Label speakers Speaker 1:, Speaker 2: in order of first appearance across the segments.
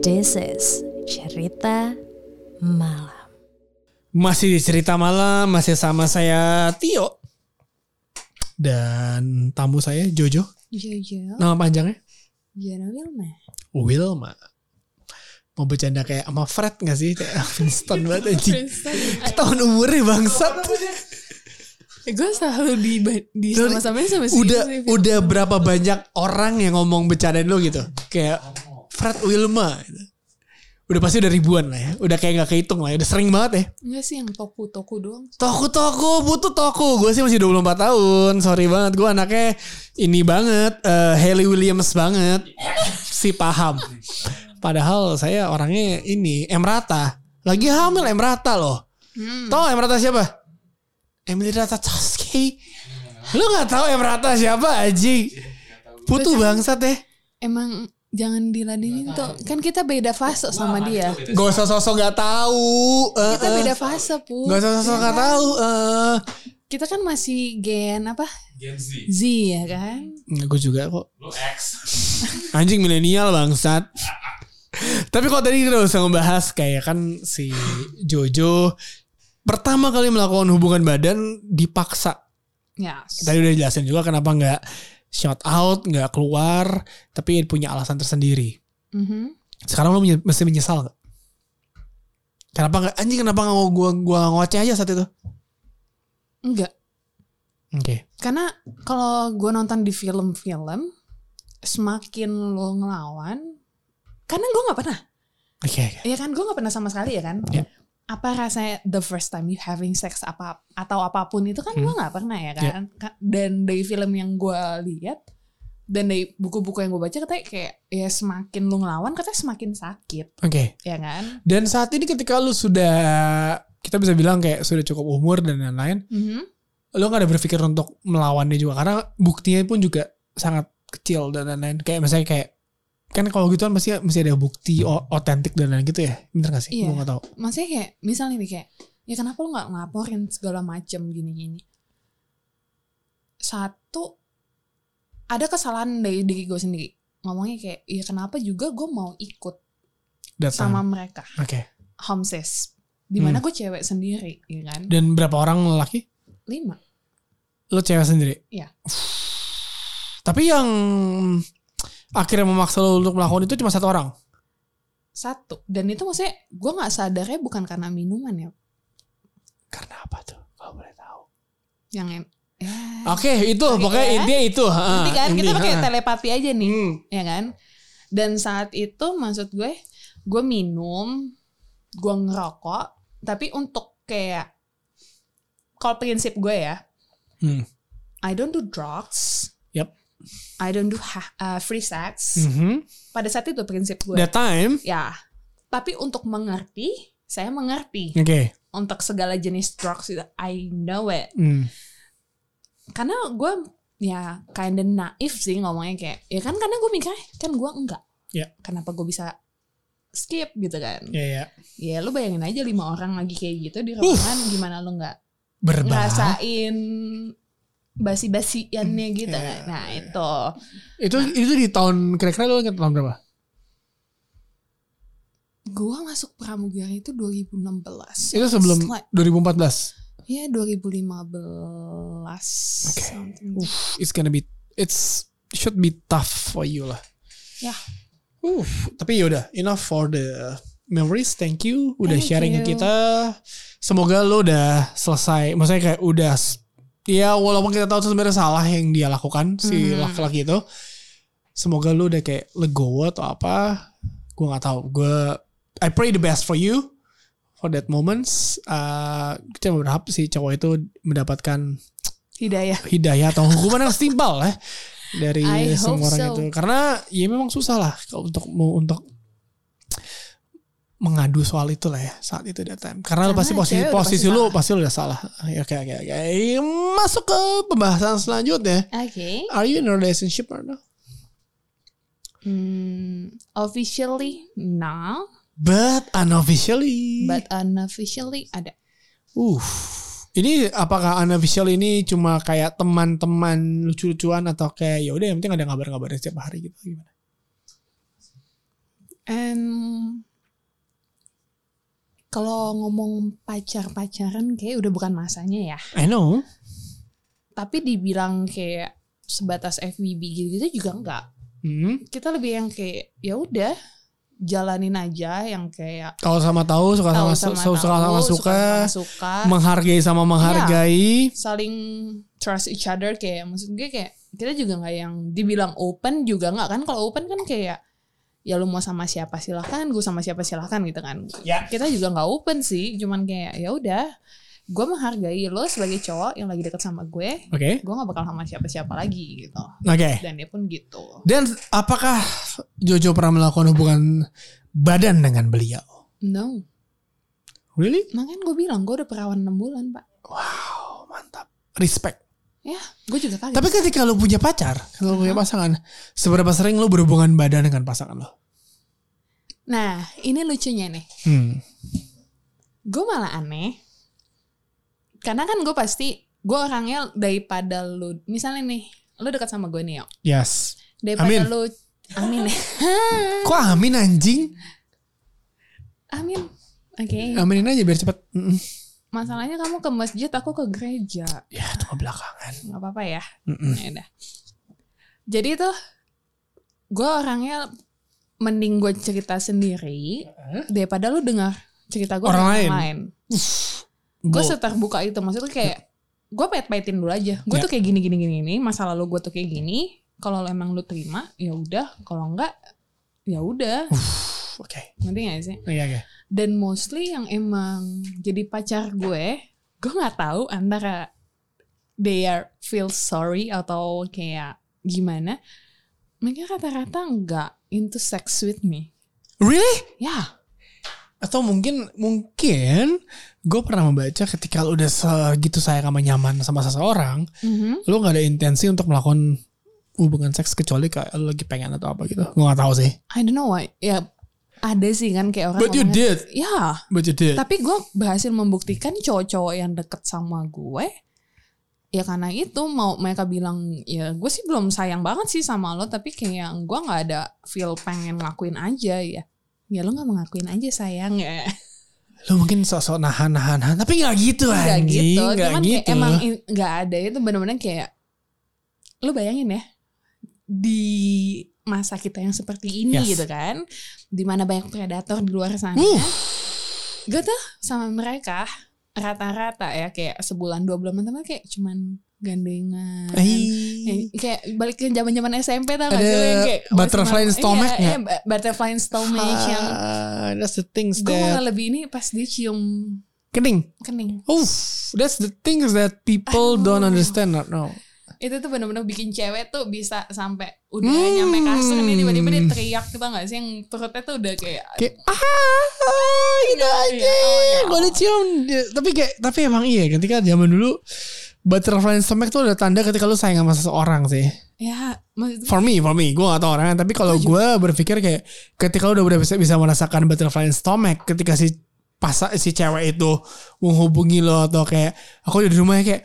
Speaker 1: This is cerita malam.
Speaker 2: Masih di cerita malam, masih sama saya Tio dan tamu saya Jojo.
Speaker 1: Jojo,
Speaker 2: Nama panjangnya
Speaker 1: Jono Wilma.
Speaker 2: Wilma. Mau bercanda kayak sama Fred gak sih? Kayak Winston banget anjing. Tahun umurnya bangsat.
Speaker 3: gue Eh, selalu di di
Speaker 2: Dari-
Speaker 3: sama sama sama si
Speaker 2: Udah
Speaker 3: Yusuf.
Speaker 2: udah berapa banyak orang yang ngomong bercandain lo gitu. Kayak Fred Wilma. gitu. Udah pasti udah ribuan lah ya. Udah kayak gak kehitung lah ya. Udah sering banget ya.
Speaker 3: Enggak sih yang toku toku doang.
Speaker 2: Toko-toko butuh toko. Gue sih masih 24 tahun. Sorry banget. Gue anaknya ini banget. eh Haley Williams banget. Si paham. Padahal saya orangnya ini. Emrata. Lagi hamil Emrata loh.
Speaker 3: Hmm.
Speaker 2: Tau gak Emrata siapa? Emily Ratajkowski. Lu gak tahu Emrata siapa Aji? Putu bangsat deh.
Speaker 3: Emang jangan diladenin tuh. Kan kita beda fase sama dia.
Speaker 2: Gak usah sosok gak tahu. Eh,
Speaker 3: Kita
Speaker 2: eh.
Speaker 3: beda fase pun.
Speaker 2: Gak usah sosok gak tahu. Eh,
Speaker 3: Kita kan masih gen apa?
Speaker 4: Gen Z.
Speaker 3: Z ya kan?
Speaker 2: gue juga kok.
Speaker 4: Lu X.
Speaker 2: Anjing milenial bangsat. Tapi kalau tadi kita udah ngebahas kayak kan si Jojo pertama kali melakukan hubungan badan dipaksa.
Speaker 3: Ya.
Speaker 2: Tadi udah jelasin juga kenapa nggak shout out, nggak keluar, tapi punya alasan tersendiri.
Speaker 3: Mhm.
Speaker 2: Sekarang lo menye- mesti menyesal gak? Kenapa nggak anjing kenapa nggak gua gua nggak ngoceh aja saat itu?
Speaker 3: Enggak.
Speaker 2: Oke.
Speaker 3: Karena kalau gue nonton di film-film, semakin lo ngelawan, karena gue nggak pernah
Speaker 2: Oke. oke.
Speaker 3: Iya kan, gue gak pernah sama sekali ya kan.
Speaker 2: Iya.
Speaker 3: Apa rasanya the first time you having sex apa atau apapun itu kan gue gak pernah ya
Speaker 2: Iya.
Speaker 3: kan. Ka- Dan dari film yang gue lihat dan dari buku-buku yang gue baca katanya kayak ya semakin lu ngelawan katanya semakin sakit
Speaker 2: Oke.
Speaker 3: ya kan.
Speaker 2: Dan saat ini ketika lu sudah kita bisa bilang kayak sudah cukup umur dan lain-lain,
Speaker 3: Mhm.
Speaker 2: lo gak ada berpikir untuk melawannya juga karena buktinya pun juga sangat kecil dan lain-lain kayak misalnya kayak kan kalau gitu kan pasti mesti ada bukti o- otentik dan lain gitu ya bener gak sih
Speaker 3: Iya.
Speaker 2: gue gak tahu
Speaker 3: Maksudnya kayak misalnya nih kayak ya kenapa lu gak ngelaporin segala macem gini-gini. Satu ada kesalahan dari diri gue sendiri ngomongnya kayak ya kenapa juga gue mau ikut
Speaker 2: data
Speaker 3: sama mereka
Speaker 2: oke
Speaker 3: homesick dimana gue cewek sendiri ya kan
Speaker 2: dan berapa orang lelaki
Speaker 3: lima
Speaker 2: lo cewek sendiri
Speaker 3: Iya.
Speaker 2: tapi yang akhirnya memaksa lo untuk melakukan itu cuma satu orang
Speaker 3: satu dan itu maksudnya gue nggak sadarnya bukan karena minuman ya
Speaker 2: karena apa tuh kalau boleh tahu
Speaker 3: yang em ya,
Speaker 2: oke itu
Speaker 3: Oke,
Speaker 2: pokoknya
Speaker 3: ya.
Speaker 2: intinya itu ha,
Speaker 3: nanti kan kita
Speaker 2: intinya,
Speaker 3: pakai
Speaker 2: ha.
Speaker 3: telepati aja nih
Speaker 2: ah. Hmm.
Speaker 3: ya kan dan saat itu maksud gue gue minum gue ngerokok tapi untuk kayak kalau prinsip gue ya
Speaker 2: Hmm.
Speaker 3: I don't do drugs
Speaker 2: Yep.
Speaker 3: I don't do ha- uh, free sex
Speaker 2: Mhm.
Speaker 3: pada saat itu prinsip gue
Speaker 2: that time
Speaker 3: ya tapi untuk mengerti saya mengerti
Speaker 2: oke
Speaker 3: untuk segala jenis drugs itu I know it
Speaker 2: Hmm.
Speaker 3: karena gue ya kinda naif sih ngomongnya kayak ya kan karena gue mikir kan gue enggak
Speaker 2: Ya.
Speaker 3: kenapa gue bisa skip gitu kan
Speaker 2: ya ya
Speaker 3: ya lu bayangin aja lima orang lagi kayak gitu di ruangan
Speaker 2: Uh,
Speaker 3: gimana lu nggak
Speaker 2: berbahaya
Speaker 3: ngerasain basi-basiannya gitu
Speaker 2: Ya.
Speaker 3: kan? nah itu
Speaker 2: Itu itu di tahun kira-kira lo ingat tahun berapa?
Speaker 3: gue masuk pramugari itu 2016
Speaker 2: Itu sebelum
Speaker 3: It's like-
Speaker 2: 2014.
Speaker 3: ya 2015 something.
Speaker 2: It's gonna be it's should be tough for you lah.
Speaker 3: Ya.
Speaker 2: Uh, tapi yaudah enough for the uh, memories. Thank you udah
Speaker 3: Thank
Speaker 2: sharing
Speaker 3: you.
Speaker 2: ke kita. Semoga lo udah selesai. Maksudnya kayak udah ya walaupun kita tahu itu sebenarnya salah yang dia lakukan si
Speaker 3: Hmm.
Speaker 2: laki-laki itu. Semoga lo udah kayak legowo atau apa. Gue nggak tahu. Gue I pray the best for you for that moments. Uh, kita berharap si cowok itu mendapatkan
Speaker 3: hidayah
Speaker 2: hidayah atau hukuman yang setimpal ya dari
Speaker 3: I
Speaker 2: semua
Speaker 3: hope
Speaker 2: orang
Speaker 3: so.
Speaker 2: itu karena ya memang susah lah kalau untuk mau untuk mengadu soal itu lah ya saat itu that time karena, lu
Speaker 3: Karena
Speaker 2: pasti posisi
Speaker 3: cewek udah
Speaker 2: posisi lu
Speaker 3: pasti salah.
Speaker 2: pasti lu udah salah Ya, oke oke oke masuk ke pembahasan selanjutnya
Speaker 3: oke
Speaker 2: are you in a relationship or no
Speaker 3: Hmm, officially no,
Speaker 2: but unofficially
Speaker 3: but unofficially ada.
Speaker 2: uh ini apakah unofficial ini cuma kayak teman-teman lucu-lucuan atau kayak ya udah yang penting ada kabar-kabarnya setiap hari gitu gimana
Speaker 3: And kalau ngomong pacar-pacaran kayak udah bukan masanya ya.
Speaker 2: I know.
Speaker 3: Tapi dibilang kayak sebatas FBB gitu-gitu juga enggak.
Speaker 2: Hmm.
Speaker 3: Kita lebih yang kayak ya udah jalanin aja yang kayak
Speaker 2: Kalau sama tahu suka sama,
Speaker 3: tahu
Speaker 2: su- suka
Speaker 3: sama
Speaker 2: sama
Speaker 3: tahu,
Speaker 2: suka, Iya.
Speaker 3: sama suka.
Speaker 2: menghargai sama menghargai.
Speaker 3: saling trust each other kayak maksud gue kayak kita juga nggak yang dibilang open juga nggak kan kalau open kan kayak ya lu mau sama siapa silahkan gue sama siapa silahkan gitu kan
Speaker 2: Ya.
Speaker 3: kita juga nggak open sih cuman kayak ya udah gue menghargai lo sebagai cowok yang lagi deket sama gue
Speaker 2: Oke.
Speaker 3: gue nggak bakal sama siapa-siapa lagi gitu
Speaker 2: Oke.
Speaker 3: dan dia pun gitu
Speaker 2: Dan apakah Jojo pernah melakukan hubungan badan dengan beliau?
Speaker 3: no
Speaker 2: Really?
Speaker 3: makanya gue bilang gue udah perawan 6 bulan pak
Speaker 2: Wow, Oh, mantap. Respect.
Speaker 3: ya gue juga kaget
Speaker 2: Tapi ketika lu punya pacar, kalau lu punya pasangan, seberapa sering lu berhubungan badan dengan pasangan lo?
Speaker 3: nah ini lucunya nih
Speaker 2: Hmm.
Speaker 3: gue malah aneh karena kan gue pasti gue orangnya daripada lu misalnya nih lu dekat sama gue nih yo
Speaker 2: Yes.
Speaker 3: daripada
Speaker 2: Amin.
Speaker 3: lu amin ya
Speaker 2: Kok amin anjing?
Speaker 3: amin oke
Speaker 2: Aminin aja biar cepet. Mm-mm.
Speaker 3: masalahnya kamu ke masjid aku ke gereja
Speaker 2: Ya, itu mah belakangan.
Speaker 3: nggak apa-apa ya
Speaker 2: Mm-mm.
Speaker 3: ya udah jadi tuh gue orangnya mending gue cerita sendiri daripada lu dengar cerita gue
Speaker 2: Orang lain. Bo-
Speaker 3: gue seterbuka itu maksudnya kayak gue pahit-pahitin dulu aja gue
Speaker 2: Ya.
Speaker 3: tuh kayak gini gini gini ini masa lalu gue tuh kayak gini kalau lo emang lu terima ya udah kalau enggak ya udah
Speaker 2: Oke.
Speaker 3: ngerti gak sih
Speaker 2: Iya, oke.
Speaker 3: dan mostly yang emang jadi pacar gue gue nggak tahu antara they are feel sorry atau kayak gimana mereka rata-rata nggak into sex with me
Speaker 2: Really?
Speaker 3: ya
Speaker 2: Atau mungkin mungkin gue pernah membaca ketika lu udah segitu sayang sama nyaman sama seseorang,
Speaker 3: Mhm.
Speaker 2: lu nggak ada intensi untuk melakukan hubungan seks kecuali kayak lu lagi pengen atau apa gitu. Gue nggak tahu sih.
Speaker 3: I don't know why ya ada sih kan kayak orang
Speaker 2: But you
Speaker 3: ngomongnya,
Speaker 2: did.
Speaker 3: ya
Speaker 2: But you did.
Speaker 3: Tapi gue berhasil membuktikan cowok-cowok yang deket sama gue Ya karena itu mau mereka bilang ya gue sih belum sayang banget sih sama lo tapi kayak gue nggak ada feel pengen ngelakuin aja ya ya lo nggak mengakuin aja sayang ya
Speaker 2: Lu mungkin sosok nahan nahan nahan, tapi nggak gitu
Speaker 3: nggak
Speaker 2: anjing,
Speaker 3: gitu
Speaker 2: nggak
Speaker 3: cuman kayak
Speaker 2: gitu.
Speaker 3: emang in- nggak ada itu benar-benar kayak lo bayangin ya di masa kita yang seperti ini
Speaker 2: Yes.
Speaker 3: gitu kan dimana banyak predator di luar sana
Speaker 2: Uh,
Speaker 3: gue tuh sama mereka rata-rata ya kayak sebulan dua bulan teman kayak cuman gandengan
Speaker 2: eh.
Speaker 3: Yang ya? kayak balik ke zaman zaman SMP tau gak
Speaker 2: Ada
Speaker 3: sih lo yang kayak
Speaker 2: butterfly
Speaker 3: masih-
Speaker 2: stomach
Speaker 3: iya,
Speaker 2: nggak?
Speaker 3: iya, butterfly stomach yang
Speaker 2: Ah, that's the things
Speaker 3: gue
Speaker 2: that
Speaker 3: malah lebih ini pas dia cium
Speaker 2: kening.
Speaker 3: kening
Speaker 2: Oof, that's the things that people don't understand right now.
Speaker 3: itu tuh bener-bener bikin cewek tuh bisa sampai udah
Speaker 2: Hmm.
Speaker 3: nyampe kasur nih tiba-tiba dia teriak tau gak sih yang perutnya tuh udah kayak
Speaker 2: Kayak ah, ah gitu
Speaker 3: Iya,
Speaker 2: aja.
Speaker 3: iya, oh,
Speaker 2: Gue dicium. Dia- Tapi kayak tapi emang iya ketika zaman dulu butterfly stomach tuh ada tanda ketika lu sayang sama seseorang sih.
Speaker 3: ya maksud gue
Speaker 2: For me, for me, gue gak tau orangnya. Tapi kalau gue berpikir kayak ketika lu udah udah bisa, bisa merasakan butterfly stomach, ketika si pasa si cewek itu menghubungi lo atau kayak aku udah di rumahnya kayak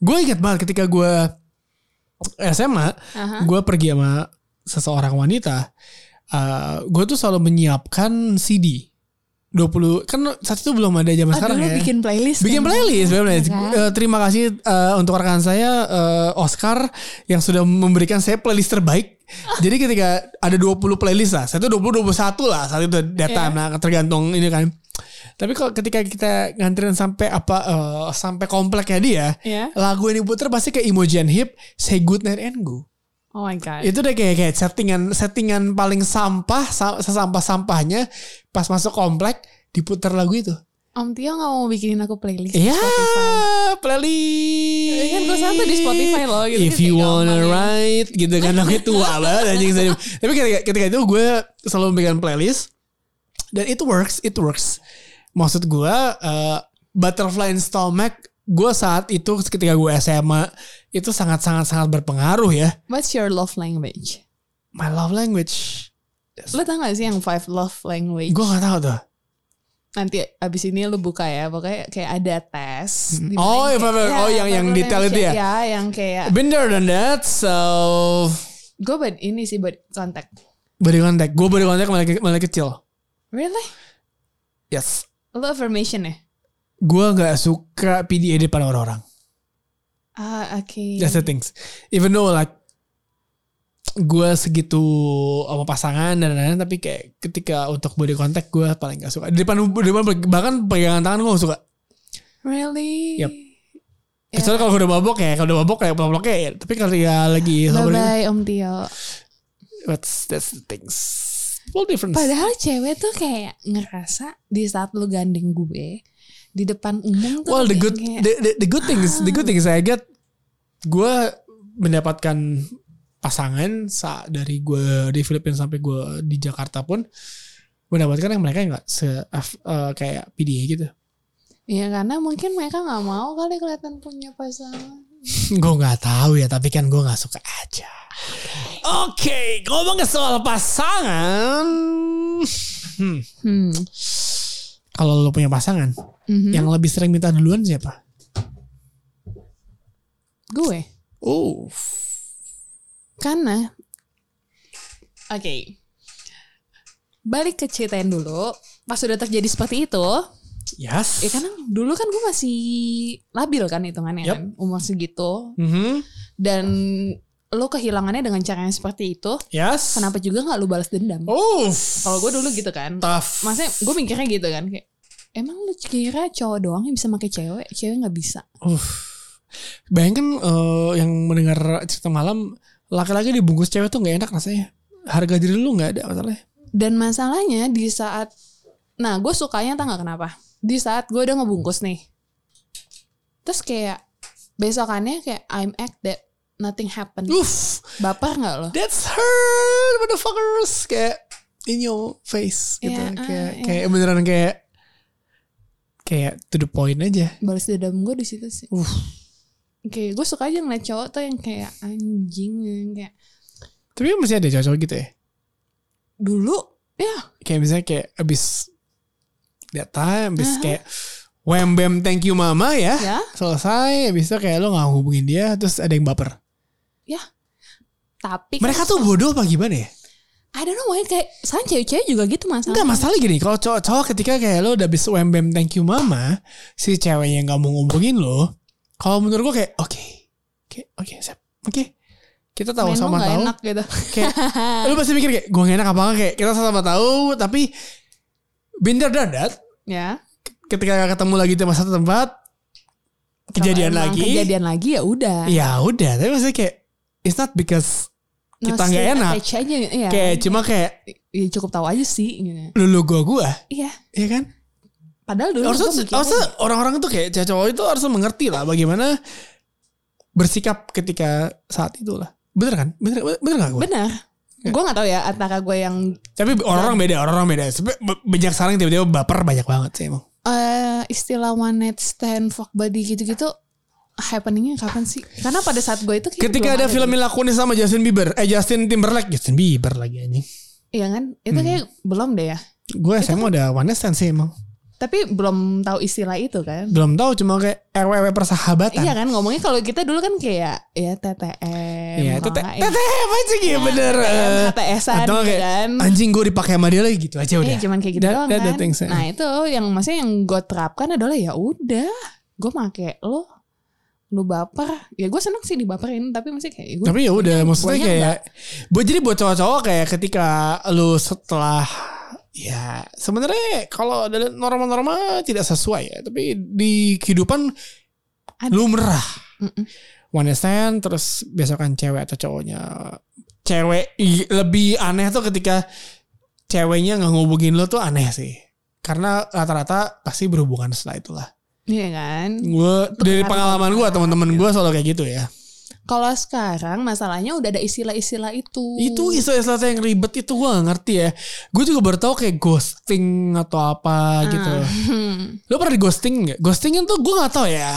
Speaker 2: gue ingat banget ketika gue SMA
Speaker 3: Aha.
Speaker 2: gue pergi sama seseorang wanita gue tuh selalu menyiapkan CD 20 kan saat itu belum ada zaman
Speaker 3: Aduh,
Speaker 2: sekarang
Speaker 3: lo
Speaker 2: ya
Speaker 3: Oh, bikin playlist
Speaker 2: bikin
Speaker 3: kan?
Speaker 2: playlist, bikin playlist.
Speaker 3: Iya kan?
Speaker 2: Eh, terima kasih eh, untuk rekan saya eh, Oscar yang sudah memberikan saya playlist terbaik jadi ketika ada 20 playlist lah satu 20 21 lah saat itu that
Speaker 3: Iya.
Speaker 2: time lah tergantung ini kan tapi kalau ketika kita nganterin sampai apa eh, sampai kompleknya dia
Speaker 3: Iya.
Speaker 2: lagu yang diputer pasti kayak Imogen Hip Say Good Night and Go
Speaker 3: oh my god
Speaker 2: itu udah kayak kayak settingan settingan paling sampah sesampah sampahnya pas masuk komplek diputar lagu itu
Speaker 3: Om Tio gak mau bikinin aku playlist di
Speaker 2: Iya,
Speaker 3: Spotify.
Speaker 2: playlist.
Speaker 3: Kan gue satu di Spotify loh, gitu.
Speaker 2: If
Speaker 3: Kayak
Speaker 2: you wanna
Speaker 3: gampang ya.
Speaker 2: ride, gitu kan lagunya tua banget anjing saya. Tapi ketika, ketika itu gue selalu memberikan playlist dan it works, it works. Maksud gue eh, butterfly in stomach gue saat itu ketika gue SMA itu sangat sangat sangat berpengaruh ya.
Speaker 3: What's your love language?
Speaker 2: My love language.
Speaker 3: Lo tau gak sih yang five love language?
Speaker 2: Gue nggak tahu tuh.
Speaker 3: Nanti abis ini lo buka ya, pokoknya kayak ada tes. di mana
Speaker 2: Oh,
Speaker 3: yang
Speaker 2: iya,
Speaker 3: kayak-
Speaker 2: iya, oh, yang- yang
Speaker 3: love
Speaker 2: detail itu
Speaker 3: language
Speaker 2: ya?
Speaker 3: Ya, yang kayak
Speaker 2: Been there than that, so
Speaker 3: gue buat ini sih buat kontak.
Speaker 2: Body contact. Gue body contact mulai, ke- mulai kecil.
Speaker 3: Really?
Speaker 2: Yes.
Speaker 3: Lo affirmation ya?
Speaker 2: Gue nggak suka PDAD pada orang-orang.
Speaker 3: Ah, oke.
Speaker 2: That's the things. Even though like gue segitu sama pasangan dan lain-lain tapi kayak ketika untuk body contact gue paling gak suka di depan di depan bahkan pegangan tangan gue gak suka
Speaker 3: Really?
Speaker 2: Yep. kecuali kalau udah mabok ya kalau udah mabok kayak pelok kayak ya. tapi kalau ya lagi sober gitu,
Speaker 3: Bye-bye Om Tio.
Speaker 2: that's that's the things full difference
Speaker 3: Padahal cewek tuh kayak ngerasa di saat lu gandeng gue di depan umum tuh
Speaker 2: well the
Speaker 3: kayak-
Speaker 2: good
Speaker 3: kayak,
Speaker 2: the, the, the good thing is the good thing is I get gue mendapatkan pasangan saat dari gue di Filipina sampai gue di Jakarta pun mendapatkan yang mereka nggak se eh, kayak PDA gitu
Speaker 3: ya karena mungkin mereka nggak mau kali kelihatan punya pasangan.
Speaker 2: gue nggak tahu ya tapi kan gue nggak suka aja oke ngomongin soal pasangan hmm.
Speaker 3: Hmm.
Speaker 2: kalau lo punya pasangan
Speaker 3: Mhm.
Speaker 2: yang lebih sering minta duluan siapa
Speaker 3: Gue
Speaker 2: oh
Speaker 3: karena oke balik ke ceritain dulu pas sudah terjadi seperti itu
Speaker 2: yes
Speaker 3: ya karena dulu kan gue masih labil kan
Speaker 2: Yep.
Speaker 3: hitungannya kan umur segitu
Speaker 2: Mhm.
Speaker 3: dan lo kehilangannya dengan cara yang seperti itu
Speaker 2: yes
Speaker 3: kenapa juga nggak lo balas dendam
Speaker 2: oh
Speaker 3: kalau gue dulu gitu kan
Speaker 2: tough
Speaker 3: maksudnya gue mikirnya gitu kan kayak emang lu kira cowok doang yang bisa pakai cewek cewek nggak bisa
Speaker 2: Uh, bayangkan eh, yang mendengar cerita malam laki-laki dibungkus cewek tuh nggak enak rasanya. Harga diri lu nggak ada masalahnya.
Speaker 3: dan masalahnya di saat nah gue sukanya tau nggak kenapa di saat gue udah ngebungkus nih terus kayak besokannya kayak I'm act that nothing happened
Speaker 2: Uff,
Speaker 3: baper nggak lo
Speaker 2: that's hurt, motherfuckers. Kayak in your face gitu.
Speaker 3: Iya, ah,
Speaker 2: kayak
Speaker 3: iya.
Speaker 2: kayak beneran kayak kayak to the point aja.
Speaker 3: balas dendam gue di situ sih
Speaker 2: Uh.
Speaker 3: Oke, gue suka aja ngeliat cowok tuh yang kayak anjing yang kayak
Speaker 2: Tapi masih ada cowok-cowok gitu ya.
Speaker 3: dulu ya
Speaker 2: Kayak misalnya kayak abis that time, abis kayak wham bam thank you mama ya.
Speaker 3: ya
Speaker 2: Selesai, abis itu kayak lo nggak hubungin dia, terus ada yang baper.
Speaker 3: ya. tapi kan-
Speaker 2: Mereka tuh bodoh apa gimana ya?
Speaker 3: I don't know why kayak sekarang cewek-cewek juga gitu masalah
Speaker 2: Enggak masalah gini kalau cowok-cowok ketika kayak lo udah habis wham bam thank you mama si ceweknya nggak mau ngomongin lo kalau menurut gue kayak oke oke oke Sep. oke kita tahu
Speaker 3: Main lo
Speaker 2: sama
Speaker 3: nggak
Speaker 2: tahu
Speaker 3: enak gitu
Speaker 2: kayak lo pasti mikir kayak gue gak enak apa enggak kayak kita sama-sama tahu tapi binder dan that
Speaker 3: ya
Speaker 2: ketika ketemu lagi di masa tempat kejadian
Speaker 3: Kalau emang
Speaker 2: lagi
Speaker 3: kejadian lagi ya udah
Speaker 2: ya udah tapi maksudnya kayak it's not because kita
Speaker 3: Masih
Speaker 2: nggak enak.
Speaker 3: attach aja ya.
Speaker 2: kayak cuma kayak
Speaker 3: ya cukup tahu aja sih gitu.
Speaker 2: lulu gua gua
Speaker 3: iya
Speaker 2: ya kan
Speaker 3: padahal dulu
Speaker 2: harusnya,
Speaker 3: gua mikirnya
Speaker 2: harusnya orang-orang tuh kayak cewek cowok itu harus mengerti lah bagaimana bersikap ketika saat itu lah. Bener kan? Bener, bener, bener gak gue?
Speaker 3: benar
Speaker 2: Iya.
Speaker 3: gue nggak tahu ya antara gue yang
Speaker 2: Tapi orang-orang beda, orang-orang beda. Sepe- be- Banyak sarang tiba-tiba baper banyak banget sih emang.
Speaker 3: eh istilah one night stand fuck buddy gitu-gitu happeningnya kapan sih karena pada saat gue itu kayaknya
Speaker 2: Ketika
Speaker 3: belum
Speaker 2: ada film Mila Kunis sama Justin Bieber, eh Justin Timberlake, Justin Bieber lagi anjing.
Speaker 3: iya kan
Speaker 2: Hmm.
Speaker 3: itu kayak belum deh ya
Speaker 2: Gue SMA udah one night stand sih emang.
Speaker 3: tapi belum tahu istilah itu kan
Speaker 2: Belum tahu cuma kayak RWW persahabatan.
Speaker 3: Iya kan ngomongnya kalau kita dulu kan kayak ya TTM,
Speaker 2: Iya,
Speaker 3: kalau
Speaker 2: teteh,
Speaker 3: nggak ya
Speaker 2: teteh apa sih gitu bener. eh,
Speaker 3: HTS-an
Speaker 2: Atau
Speaker 3: gitu
Speaker 2: kayak
Speaker 3: kan.
Speaker 2: anjing gue dipakai sama dia lagi gitu aja udah.
Speaker 3: Iya cuman kayak gitu
Speaker 2: That-
Speaker 3: doang
Speaker 2: that the
Speaker 3: kan.
Speaker 2: things, eh.
Speaker 3: Nah itu yang maksudnya yang gue terapkan adalah ya udah gue make lo lu baper ya gue seneng sih dibaperin tapi masih kayak "Iya, gue
Speaker 2: Tapi ya udah maksudnya
Speaker 3: guanya
Speaker 2: kayak buat jadi buat cowok-cowok kayak ketika lu setelah ya sebenarnya kalau dari norma-norma tidak sesuai ya, tapi di kehidupan
Speaker 3: Ada.
Speaker 2: lumrah.
Speaker 3: Mm-mm.
Speaker 2: One night stand terus besokan cewek atau cowoknya cewek i- lebih aneh tuh ketika ceweknya nggak ngubungin lu tuh aneh sih. Karena rata-rata pasti berhubungan setelah itulah.
Speaker 3: iya kan
Speaker 2: Gue dari pengalaman gue teman-teman gue selalu kayak gitu ya.
Speaker 3: kalau sekarang masalahnya udah ada istilah-istilah itu
Speaker 2: Itu istilah-istilah yang ribet itu gue gak ngerti ya. Gue juga baru tau kayak ghosting atau apa
Speaker 3: Nah,
Speaker 2: gitu.
Speaker 3: Hmm.
Speaker 2: Lo pernah di ghosting gak? Ghosting tuh gue gak tau ya.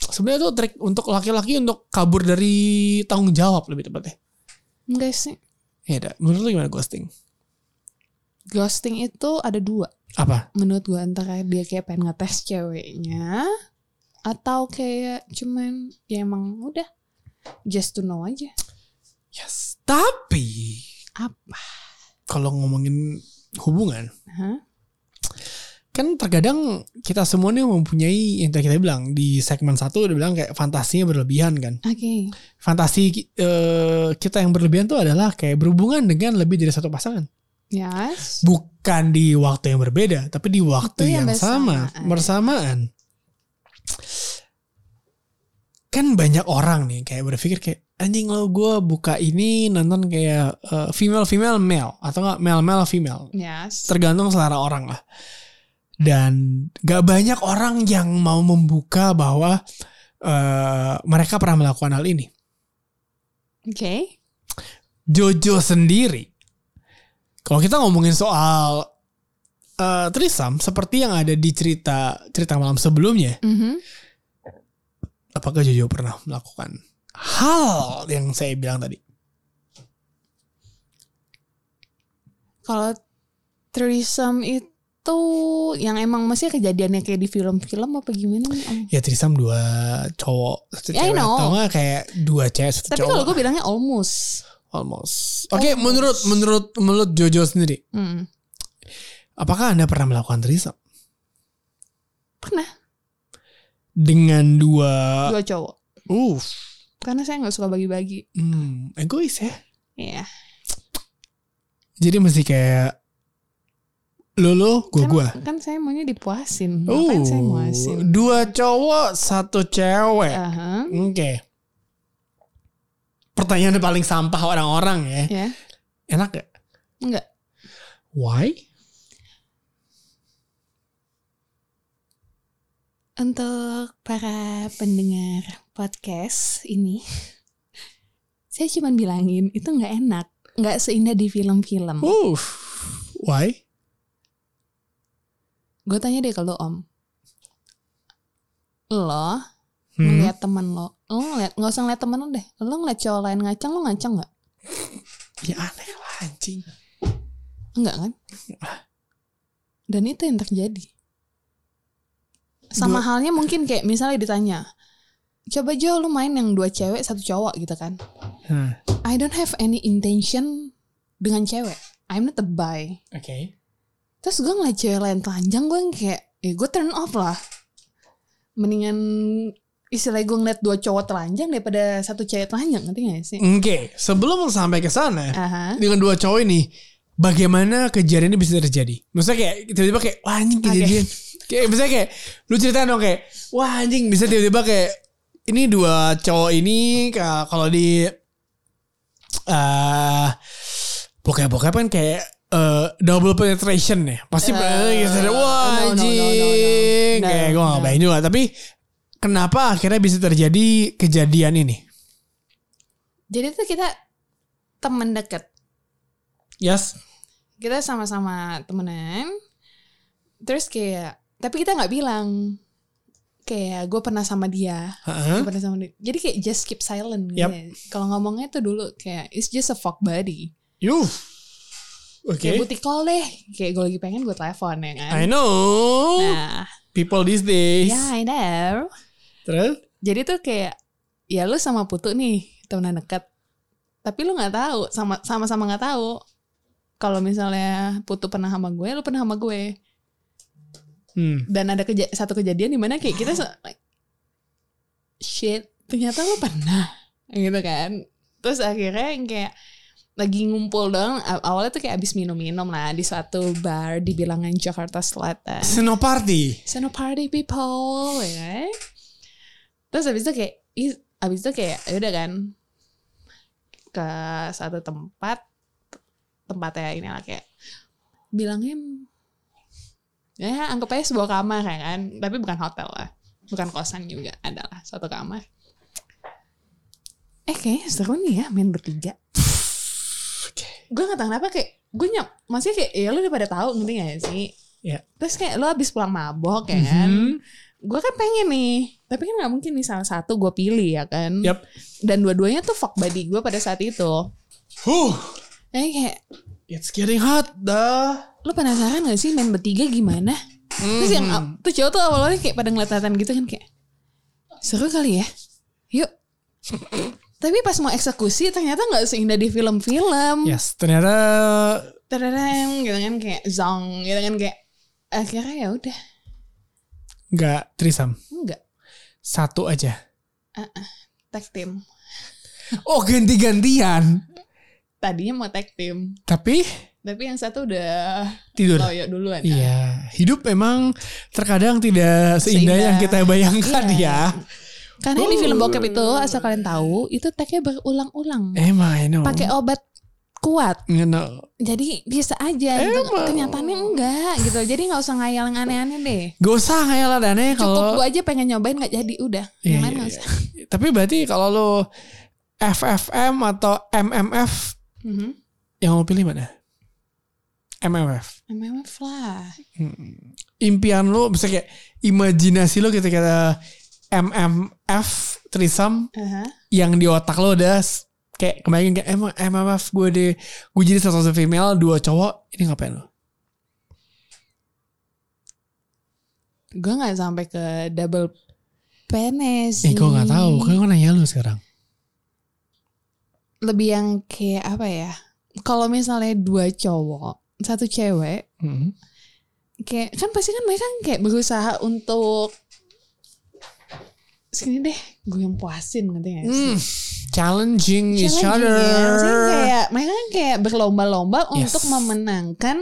Speaker 2: Sebenarnya itu trik untuk laki-laki untuk kabur dari tanggung jawab lebih tepatnya.
Speaker 3: enggak sih
Speaker 2: Iya dah. Menurut lo gimana ghosting?
Speaker 3: ghosting itu ada dua
Speaker 2: Apa?
Speaker 3: menurut gue antara dia kayak pengen ngetes ceweknya atau kayak cuman ya emang udah just to know aja
Speaker 2: Yes. Tapi
Speaker 3: apa
Speaker 2: kalau ngomongin hubungan
Speaker 3: Hah?
Speaker 2: kan terkadang kita semua nih mempunyai yang tadi kita bilang di segmen satu udah bilang kayak fantasinya berlebihan kan
Speaker 3: Oke.
Speaker 2: fantasi eh, kita yang berlebihan tuh adalah kayak berhubungan dengan lebih dari satu pasangan
Speaker 3: Yes.
Speaker 2: bukan di waktu yang berbeda tapi di waktu
Speaker 3: Waktu yang
Speaker 2: yang, sama
Speaker 3: bersamaan.
Speaker 2: bersamaan kan banyak orang nih kayak berpikir kayak anjing lo gue buka ini nonton kayak eh, female female male atau enggak male male female
Speaker 3: Yes.
Speaker 2: tergantung selera orang lah. Dan gak banyak orang yang mau membuka bahwa eh, mereka pernah melakukan hal ini.
Speaker 3: Oke.
Speaker 2: Jojo sendiri, kalau kita ngomongin soal eh, Trisam seperti yang ada di cerita cerita malam sebelumnya,
Speaker 3: Mhm.
Speaker 2: apakah Jojo pernah melakukan hal yang saya bilang tadi?
Speaker 3: Kalau threesome itu yang emang masih kejadiannya kayak di film-film apa gimana? nih, Om?
Speaker 2: Ya Trisam dua cowok, satu
Speaker 3: Yeah, Ya, I
Speaker 2: cewek,
Speaker 3: know.
Speaker 2: atau enggak kayak dua cewek satu
Speaker 3: Tapi
Speaker 2: cowok.
Speaker 3: kalau gue bilangnya almost.
Speaker 2: Almost. Oke, menurut menurut menurut Jojo sendiri,
Speaker 3: Hmm.
Speaker 2: Apakah Anda pernah melakukan threesome?
Speaker 3: Pernah
Speaker 2: Dengan dua...
Speaker 3: dua cowok.
Speaker 2: Uff.
Speaker 3: Karena saya nggak suka bagi-bagi.
Speaker 2: Hmm, egois ya.
Speaker 3: Iya.
Speaker 2: Jadi mesti kayak... Lo lo, gue
Speaker 3: Kan-
Speaker 2: gue.
Speaker 3: Kan, saya maunya dipuasin. Ngapain
Speaker 2: Oh.
Speaker 3: saya muasin?
Speaker 2: dua cowok, satu cewek.
Speaker 3: Aha.
Speaker 2: Oke. Pertanyaan paling sampah orang-orang ya.
Speaker 3: Ya.
Speaker 2: Enak gak?
Speaker 3: Enggak.
Speaker 2: Why?
Speaker 3: Untuk para pendengar podcast ini, saya cuma bilangin itu nggak enak. Nggak seindah di film-film.
Speaker 2: Uff. Why?
Speaker 3: Gue tanya deh ke lo, Om. Lo
Speaker 2: Hmm.
Speaker 3: ngeliat temen lo, lo ngeliat, nggak usah ngeliat temen lo deh. Lo ngeliat cowok lain ngacang, lo ngacang nggak?
Speaker 2: Ya aneh lah anjing.
Speaker 3: Enggak kan? Dan itu yang terjadi. Sama
Speaker 2: Dua-
Speaker 3: halnya mungkin kayak misalnya ditanya, coba Jo lu main yang dua cewek satu cowok gitu kan.
Speaker 2: Hah,
Speaker 3: I don't have any intention dengan cewek. I'm not a bi.
Speaker 2: Oke.
Speaker 3: Terus gue ngeliat cewek lain telanjang gue yang kayak, eh gue turn off lah. Mendingan istilahnya gue ngeliat dua cowok telanjang daripada satu cewek telanjang, ngerti gak sih?
Speaker 2: Oke, sebelum sampai ke sana.
Speaker 3: Aha.
Speaker 2: dengan dua cowok ini bagaimana kejadian ini bisa terjadi maksudnya kayak tiba-tiba kayak wah anjing kejadian kayak misalnya kayak lu cerita dong kayak wah anjing bisa tiba-tiba kayak ini dua cowok ini ka- kalau di eh bokep bokep kan kayak eh, double penetration ya pasti
Speaker 3: Eh,
Speaker 2: eh, gitu. wah
Speaker 3: no, no, no, no, no.
Speaker 2: anjing
Speaker 3: No,
Speaker 2: kayak gue nggak
Speaker 3: no.
Speaker 2: bayangin juga tapi kenapa akhirnya bisa terjadi kejadian ini
Speaker 3: Jadi tuh kita temen deket.
Speaker 2: yes
Speaker 3: kita sama-sama temenan terus kayak tapi kita nggak bilang kayak gue pernah sama dia gue
Speaker 2: Heeh.
Speaker 3: pernah sama dia jadi kayak just keep silent gitu
Speaker 2: Yap.
Speaker 3: ya. kalau ngomongnya tuh dulu kayak it's just a fuck buddy
Speaker 2: you oke
Speaker 3: kayak booty call deh kayak gue lagi pengen gue telepon ya kan
Speaker 2: I know
Speaker 3: nah
Speaker 2: people these days.
Speaker 3: ya I know
Speaker 2: Terus?
Speaker 3: jadi tuh kayak ya lu sama putu nih temenan dekat tapi lu nggak tahu sama sama sama nggak tahu kalau misalnya putu pernah sama gue lu pernah sama gue
Speaker 2: Hmm.
Speaker 3: dan ada keja- satu kejadian di mana kayak kita se- like, shit ternyata lo pernah gitu kan terus akhirnya yang kayak lagi ngumpul dong aw- awalnya tuh kayak abis minum-minum lah di suatu bar di bilangan Jakarta Selatan
Speaker 2: Senoparty.
Speaker 3: Seno party people ya kan? terus abis itu kayak is- abis itu kayak ya udah kan ke satu tempat tempatnya ini lah kayak bilangnya ya anggap aja sebuah kamar ya kan tapi bukan hotel lah bukan kosan juga adalah satu kamar eh kayaknya seru nih ya main bertiga
Speaker 2: Oke.
Speaker 3: gue gak tau kenapa kayak gue nyam masih kayak ya lu udah pada tahu ngerti gak sih
Speaker 2: Iya.
Speaker 3: terus kayak lu abis pulang mabok ya kan
Speaker 2: Mhm.
Speaker 3: gue kan pengen nih tapi kan nggak mungkin nih salah satu gue pilih ya kan
Speaker 2: Yap.
Speaker 3: dan dua-duanya tuh fuck buddy gue pada saat itu
Speaker 2: Huh.
Speaker 3: Jadi kayak
Speaker 2: It's getting hot dah.
Speaker 3: lu penasaran gak sih main bertiga gimana terus yang tuh cowok tuh awalnya kayak pada ngeliat-ngeliatan gitu kan kayak seru kali ya yuk Tapi pas mau eksekusi ternyata nggak seindah di film-film.
Speaker 2: Yes, ternyata
Speaker 3: Tereng gitu kan kayak zong gitu kan kayak akhirnya ya udah
Speaker 2: nggak trisam.
Speaker 3: enggak
Speaker 2: Satu aja.
Speaker 3: tag team.
Speaker 2: Oh ganti-gantian.
Speaker 3: Tadinya mau tag team,
Speaker 2: Tapi
Speaker 3: tapi yang satu udah
Speaker 2: tidur.
Speaker 3: loyo duluan.
Speaker 2: Iya, hidup memang terkadang tidak seindah,
Speaker 3: Seindah.
Speaker 2: yang kita bayangkan
Speaker 3: Iya.
Speaker 2: ya.
Speaker 3: Karena di film
Speaker 2: Uh.
Speaker 3: bokep itu asal kalian tahu itu tagnya berulang-ulang.
Speaker 2: Emang, I know.
Speaker 3: Pakai obat kuat.
Speaker 2: You know.
Speaker 3: Jadi biasa aja gitu.
Speaker 2: Emang.
Speaker 3: Kenyataannya enggak gitu. Jadi nggak usah ngayal yang aneh-aneh deh.
Speaker 2: Gak usah ngayal aneh
Speaker 3: Cukup
Speaker 2: kalau
Speaker 3: gua aja pengen nyobain nggak jadi udah.
Speaker 2: Oh. Iya,
Speaker 3: Yang lain
Speaker 2: iya,
Speaker 3: nggak
Speaker 2: iya.
Speaker 3: usah.
Speaker 2: Tapi berarti kalau lo FFM atau MMF
Speaker 3: Mhm.
Speaker 2: yang lo pilih mana? MMF.
Speaker 3: MMF lah.
Speaker 2: Hmm. Impian lo bisa kayak imajinasi lo gitu kayak MMF trisam
Speaker 3: Aha.
Speaker 2: yang di otak lo udah s- kayak kemarin kayak "Eh, emang MMF gue deh gue jadi satu satu female dua cowok ini ngapain lo?
Speaker 3: Gue nggak sampai ke double penis.
Speaker 2: Eh gue nggak tahu kan gue nanya lo sekarang.
Speaker 3: Lebih yang kayak apa ya? Kalau misalnya dua cowok, satu cewek,
Speaker 2: Hmm.
Speaker 3: kayak kan pasti kan mereka kayak berusaha untuk sini deh gue yang puasin nanti ya
Speaker 2: Hmm. Challenging, each other.
Speaker 3: kayak mereka ya? kan kayak berlomba-lomba
Speaker 2: Yes.
Speaker 3: untuk memenangkan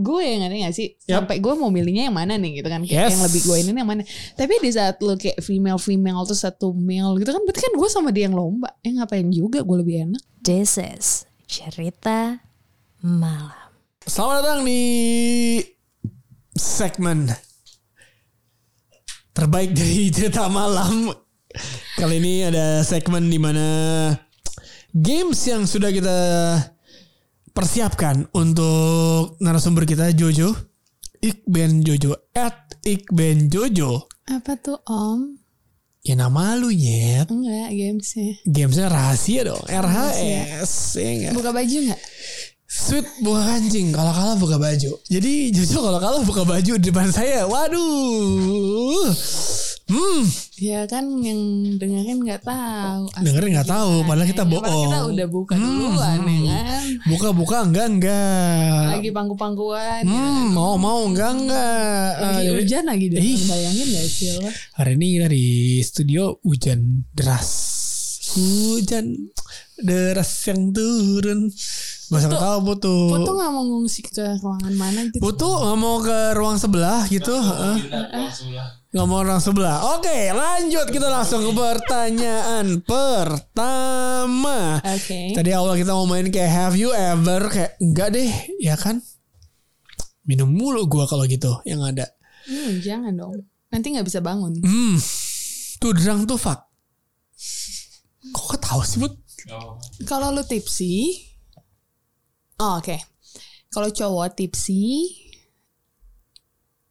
Speaker 3: gue ngerti gak sih
Speaker 2: Yap.
Speaker 3: sampai gue mau milihnya yang mana nih gitu kan Kayak
Speaker 2: Yes.
Speaker 3: yang lebih gue ini yang mana tapi di saat lo kayak female female tuh satu male gitu kan berarti kan gue sama dia yang lomba eh ngapain juga gue lebih enak
Speaker 1: This is cerita malam.
Speaker 2: Selamat datang di segmen terbaik dari cerita malam. Kali ini ada segmen di mana games yang sudah kita persiapkan untuk narasumber kita Jojo, Iqben Jojo at Iqben Jojo.
Speaker 3: apa tuh om
Speaker 2: Ya nama lu nyet.
Speaker 3: enggak gamesnya
Speaker 2: Gamesnya rahasia dong. RHS. ya nggak?
Speaker 3: buka baju nggak
Speaker 2: Sweet buka kancing kalau kalah buka baju. Jadi justru kalau kalah buka baju di depan saya. Waduh. Hmm,
Speaker 3: Ya kan yang dengerin nggak tahu. Astaga,
Speaker 2: Dengerin nggak tahu,
Speaker 3: gimana
Speaker 2: padahal kita
Speaker 3: ya? kita
Speaker 2: bohong. Hmm. Iya.
Speaker 3: udah buka duluan ya kan.
Speaker 2: buka-buka enggak enggak.
Speaker 3: Lagi pangku-pangkuan. ya.
Speaker 2: Hmm, mau mau enggak enggak. Eh,
Speaker 3: Lagi
Speaker 2: jadi-
Speaker 3: hujan lagi deh.
Speaker 2: Ih. Oh.
Speaker 3: Bayangin gak sih lo?
Speaker 2: hari ini kita di studio hujan deras. Hujan deras yang turun. Gak usah tahu butuh.
Speaker 3: Lo tuh nggak mau ngungsi ke ruangan mana gitu?
Speaker 2: Butuh nggak mau ke ruang sebelah gitu. Heeh. Nggak mau orang sebelah. Oke, lanjut kita langsung ke pertanyaan pertama.
Speaker 3: Oke.
Speaker 2: Tadi awal kita ngomongin kayak have you ever kayak enggak deh, ya kan? Minum mulu gua kalau gitu yang ada.
Speaker 3: Hmm, jangan dong. Nanti nggak bisa bangun.
Speaker 2: Hmm. Tuh derang tuh fuck. Kok kau tahu sih, Bud?
Speaker 3: Kalau lo tipsy, oh, oke. Kalau cowok tipsy,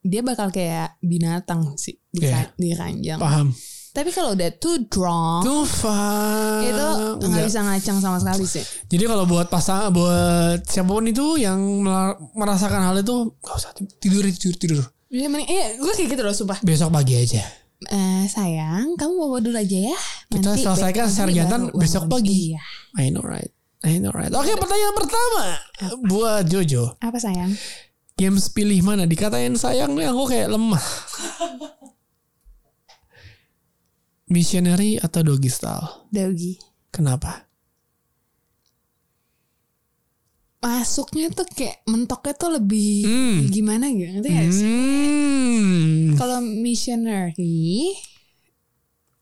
Speaker 3: dia bakal kayak binatang sih di,
Speaker 2: Iya.
Speaker 3: di ranjang.
Speaker 2: Paham.
Speaker 3: Tapi kalau udah too drunk,
Speaker 2: Tuh fuck.
Speaker 3: itu nggak
Speaker 2: Enggak.
Speaker 3: bisa ngacang sama sekali sih.
Speaker 2: Jadi kalau buat pasangan buat siapapun itu yang melar- merasakan hal itu nggak usah tidur tidur tidur.
Speaker 3: Iya, mending, iya, gue kayak gitu loh, sumpah.
Speaker 2: Besok pagi aja.
Speaker 3: Eh, sayang, kamu bawa dulu aja ya.
Speaker 2: Kita
Speaker 3: Nanti
Speaker 2: selesaikan
Speaker 3: besok
Speaker 2: secara
Speaker 3: pagi
Speaker 2: jantan
Speaker 3: baru
Speaker 2: besok
Speaker 3: bangun.
Speaker 2: pagi.
Speaker 3: Iya.
Speaker 2: I know right. I know right. Oke pertanyaan pertama buat Jojo.
Speaker 3: Apa sayang?
Speaker 2: Games pilih mana? Dikatain sayang nih aku kayak lemah. Missionary atau doggy style?
Speaker 3: Dogi.
Speaker 2: Kenapa?
Speaker 3: Masuknya tuh kayak mentoknya tuh lebih
Speaker 2: Hmm.
Speaker 3: gimana gitu. Ngerti nggak sih?
Speaker 2: Hmm.
Speaker 3: Kalau missionary,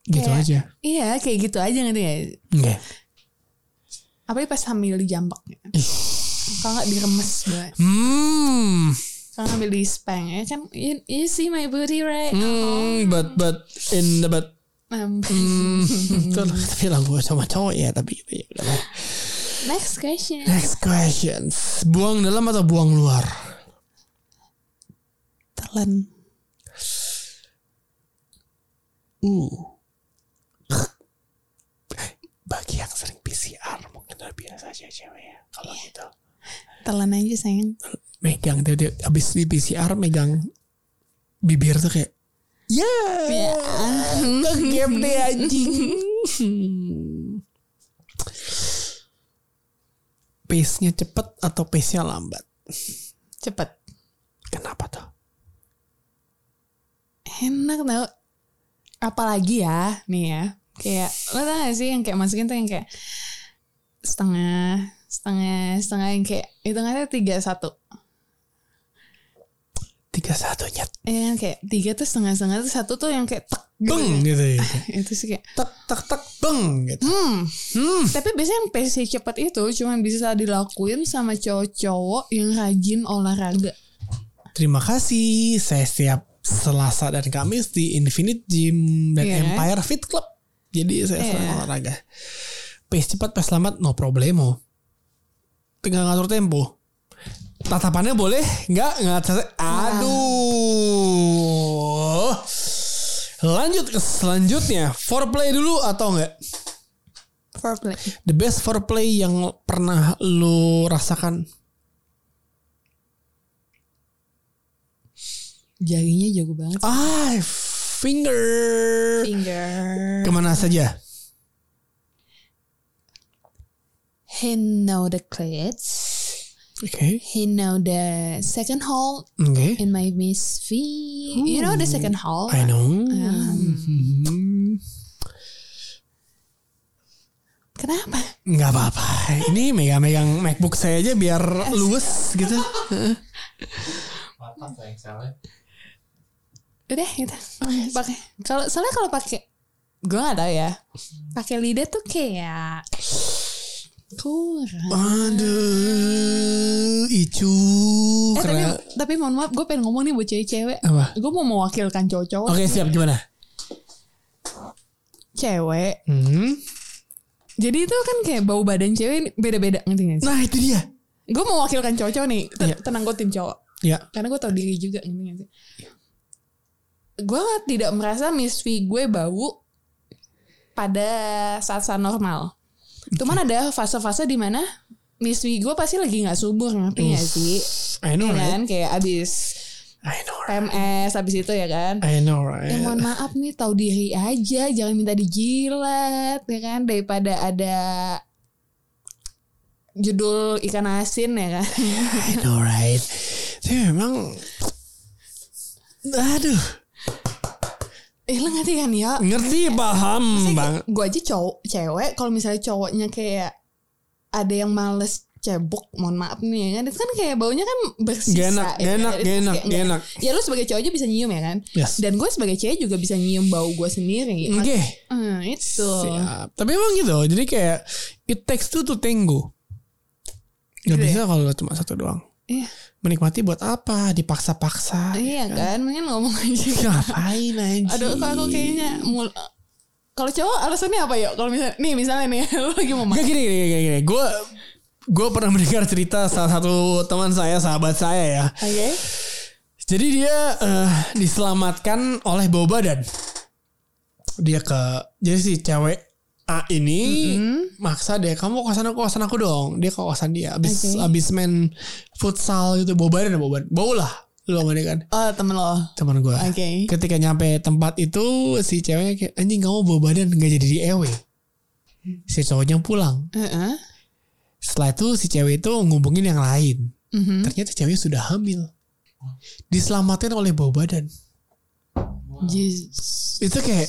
Speaker 2: Gitu
Speaker 3: kayak-
Speaker 2: aja.
Speaker 3: iya kayak gitu aja ngerti ya.
Speaker 2: Oke.
Speaker 3: Apalagi pas hamil di jampaknya. Kalau nggak diremes banget. Oh.
Speaker 2: Hmm.
Speaker 3: Kalau ngambil di spank ya kan, you, you see my booty right?
Speaker 2: Hmm, but but in the but
Speaker 3: Um,
Speaker 2: Hmm, betul. tapi lah gue sama cowok ya tapi gitu ya. udah lah.
Speaker 3: next question.
Speaker 2: Next questions. Buang dalam atau buang luar?
Speaker 3: Telan.
Speaker 2: Uh. Bagi yang sering PCR mungkin udah biasa aja cewek ya. Kalau gitu.
Speaker 3: Telan aja sayang.
Speaker 2: Megang dia, dia abis di PCR megang bibir tuh kayak ya yeah, game deh anjing. pace-nya cepet atau pace-nya lambat?
Speaker 3: Cepet.
Speaker 2: Kenapa tuh?
Speaker 3: Enak tau. Apalagi ya, nih ya. Kayak, lo tau gak sih yang kayak masukin tuh yang kayak setengah, setengah, setengah yang kayak hitungannya tiga satu.
Speaker 2: Tiga satunya
Speaker 3: Eh, yang kayak tiga tuh setengah setengah tuh satu tuh yang kayak tek. gitu.
Speaker 2: beng gitu ya.
Speaker 3: Itu sih kayak,
Speaker 2: Tek tek tek beng gitu.
Speaker 3: hmm.
Speaker 2: Hmm.
Speaker 3: Tapi biasanya yang PC cepat itu cuman bisa dilakuin sama cowok-cowok yang rajin olahraga.
Speaker 2: Terima kasih. Saya setiap Selasa dan Kamis di Infinite Gym dan
Speaker 3: Iya.
Speaker 2: Empire Fit Club. Jadi saya sering
Speaker 3: Iya.
Speaker 2: olahraga. Pace cepat, pace lambat, no problemo. Tinggal ngatur tempo. Tatapannya boleh, nggak nggak. ter- Aduh. Lanjut ke selanjutnya. Foreplay dulu atau enggak?
Speaker 3: Foreplay.
Speaker 2: The best foreplay yang pernah lu rasakan?
Speaker 3: Jarinya jago banget.
Speaker 2: Ah, finger.
Speaker 3: Finger.
Speaker 2: Kemana saja?
Speaker 3: He know the clit.
Speaker 2: Oke.
Speaker 3: He know the second hole
Speaker 2: Oke.
Speaker 3: in my miss V. You know the second hole.
Speaker 2: I know.
Speaker 3: Ya. Kenapa?
Speaker 2: Nggak apa-apa. Ini megang-megang MacBook saya aja biar luwes gitu.
Speaker 4: Patah sayang salah.
Speaker 3: Udah gitu.
Speaker 2: Oh,
Speaker 3: Pakai. Kalau soalnya kalau pakai gue gak tau ya. Pakai lidah tuh kayak kurang.
Speaker 2: Aduh, icu. Oh,
Speaker 3: Eh, tapi,
Speaker 2: Keren.
Speaker 3: tapi mohon maaf, gue pengen ngomong nih buat cewek-cewek.
Speaker 2: Apa?
Speaker 3: Gue mau mewakilkan cowok-cowok.
Speaker 2: Oke, siap gimana?
Speaker 3: Cewek.
Speaker 2: Hmm.
Speaker 3: Jadi itu kan kayak bau badan cewek ini beda-beda ngerti gak sih?
Speaker 2: Nah, itu dia.
Speaker 3: Gue mewakilkan cowok-cowok nih. Ten-
Speaker 2: Iya.
Speaker 3: Tenang gue tim cowok.
Speaker 2: Ya.
Speaker 3: Karena gue tau diri juga ngerti gak sih? Gue tidak merasa Miss V gue bau pada saat-saat normal. Cuman ada fase-fase di mana Miss V gue pasti lagi nggak subur ngerti gak Iya sih?
Speaker 2: I know
Speaker 3: Ya
Speaker 2: right.
Speaker 3: kan kayak abis
Speaker 2: I know right.
Speaker 3: PMS abis itu ya kan?
Speaker 2: I know
Speaker 3: Ya
Speaker 2: right.
Speaker 3: mohon maaf nih tahu diri aja, jangan minta dijilat ya kan daripada ada judul ikan asin ya kan.
Speaker 2: I know right. Tapi memang Aduh,
Speaker 3: Eh lo ngerti kan ya?
Speaker 2: ngerti paham bang.
Speaker 3: Gue aja cowok cewek kalau misalnya cowoknya kayak ada yang males cebok mohon maaf nih ya kan itu kan kayak baunya kan
Speaker 2: Gak
Speaker 3: bersisa
Speaker 2: enak,
Speaker 3: ya
Speaker 2: gak
Speaker 3: kan?
Speaker 2: enak, gak enak,
Speaker 3: Jadi terus kayak
Speaker 2: gak
Speaker 3: nggak-
Speaker 2: enak.
Speaker 3: ya lu sebagai cowok aja bisa nyium ya kan
Speaker 2: Yes.
Speaker 3: dan gue sebagai cewek juga bisa nyium bau gue sendiri
Speaker 2: Oke.
Speaker 3: Hmm, itu
Speaker 2: Siap. Tapi emang gitu. Jadi kayak it takes two to tango. Gak
Speaker 3: Gitu ya?
Speaker 2: bisa kalau cuma satu doang.
Speaker 3: Iya.
Speaker 2: Menikmati buat apa? Dipaksa-paksa.
Speaker 3: iya kan mendingan ngomong aja
Speaker 2: Ngapain aja?
Speaker 3: Aduh, kok aku kayaknya mul kalau cowok alasannya apa yuk? Kalau misalnya nih misalnya nih lu lagi mau
Speaker 2: Gak
Speaker 3: makan.
Speaker 2: gini, gini, gini, gini. Gue gue pernah mendengar cerita salah satu teman saya, sahabat saya ya.
Speaker 3: Oke.
Speaker 2: Jadi dia eh, diselamatkan oleh bau badan. Dia ke jadi si cewek A ini
Speaker 3: Mm-hmm.
Speaker 2: maksa dia kamu ke kosan aku kosan aku dong. Dia ke kosan dia abis
Speaker 3: Oke.
Speaker 2: abis main futsal gitu bau badan bau badan. Bau lah lu sama dia kan
Speaker 3: Oh, temen lo.
Speaker 2: teman gue.
Speaker 3: Oke.
Speaker 2: Ketika nyampe tempat itu si ceweknya kayak anjing kamu bau badan nggak jadi di EW. Si cowoknya pulang.
Speaker 3: Heeh.
Speaker 2: Setelah itu si cewek itu ngubungin yang lain.
Speaker 3: Mhm.
Speaker 2: Ternyata ceweknya sudah hamil. Diselamatkan oleh bau badan.
Speaker 3: Jis-
Speaker 2: itu kayak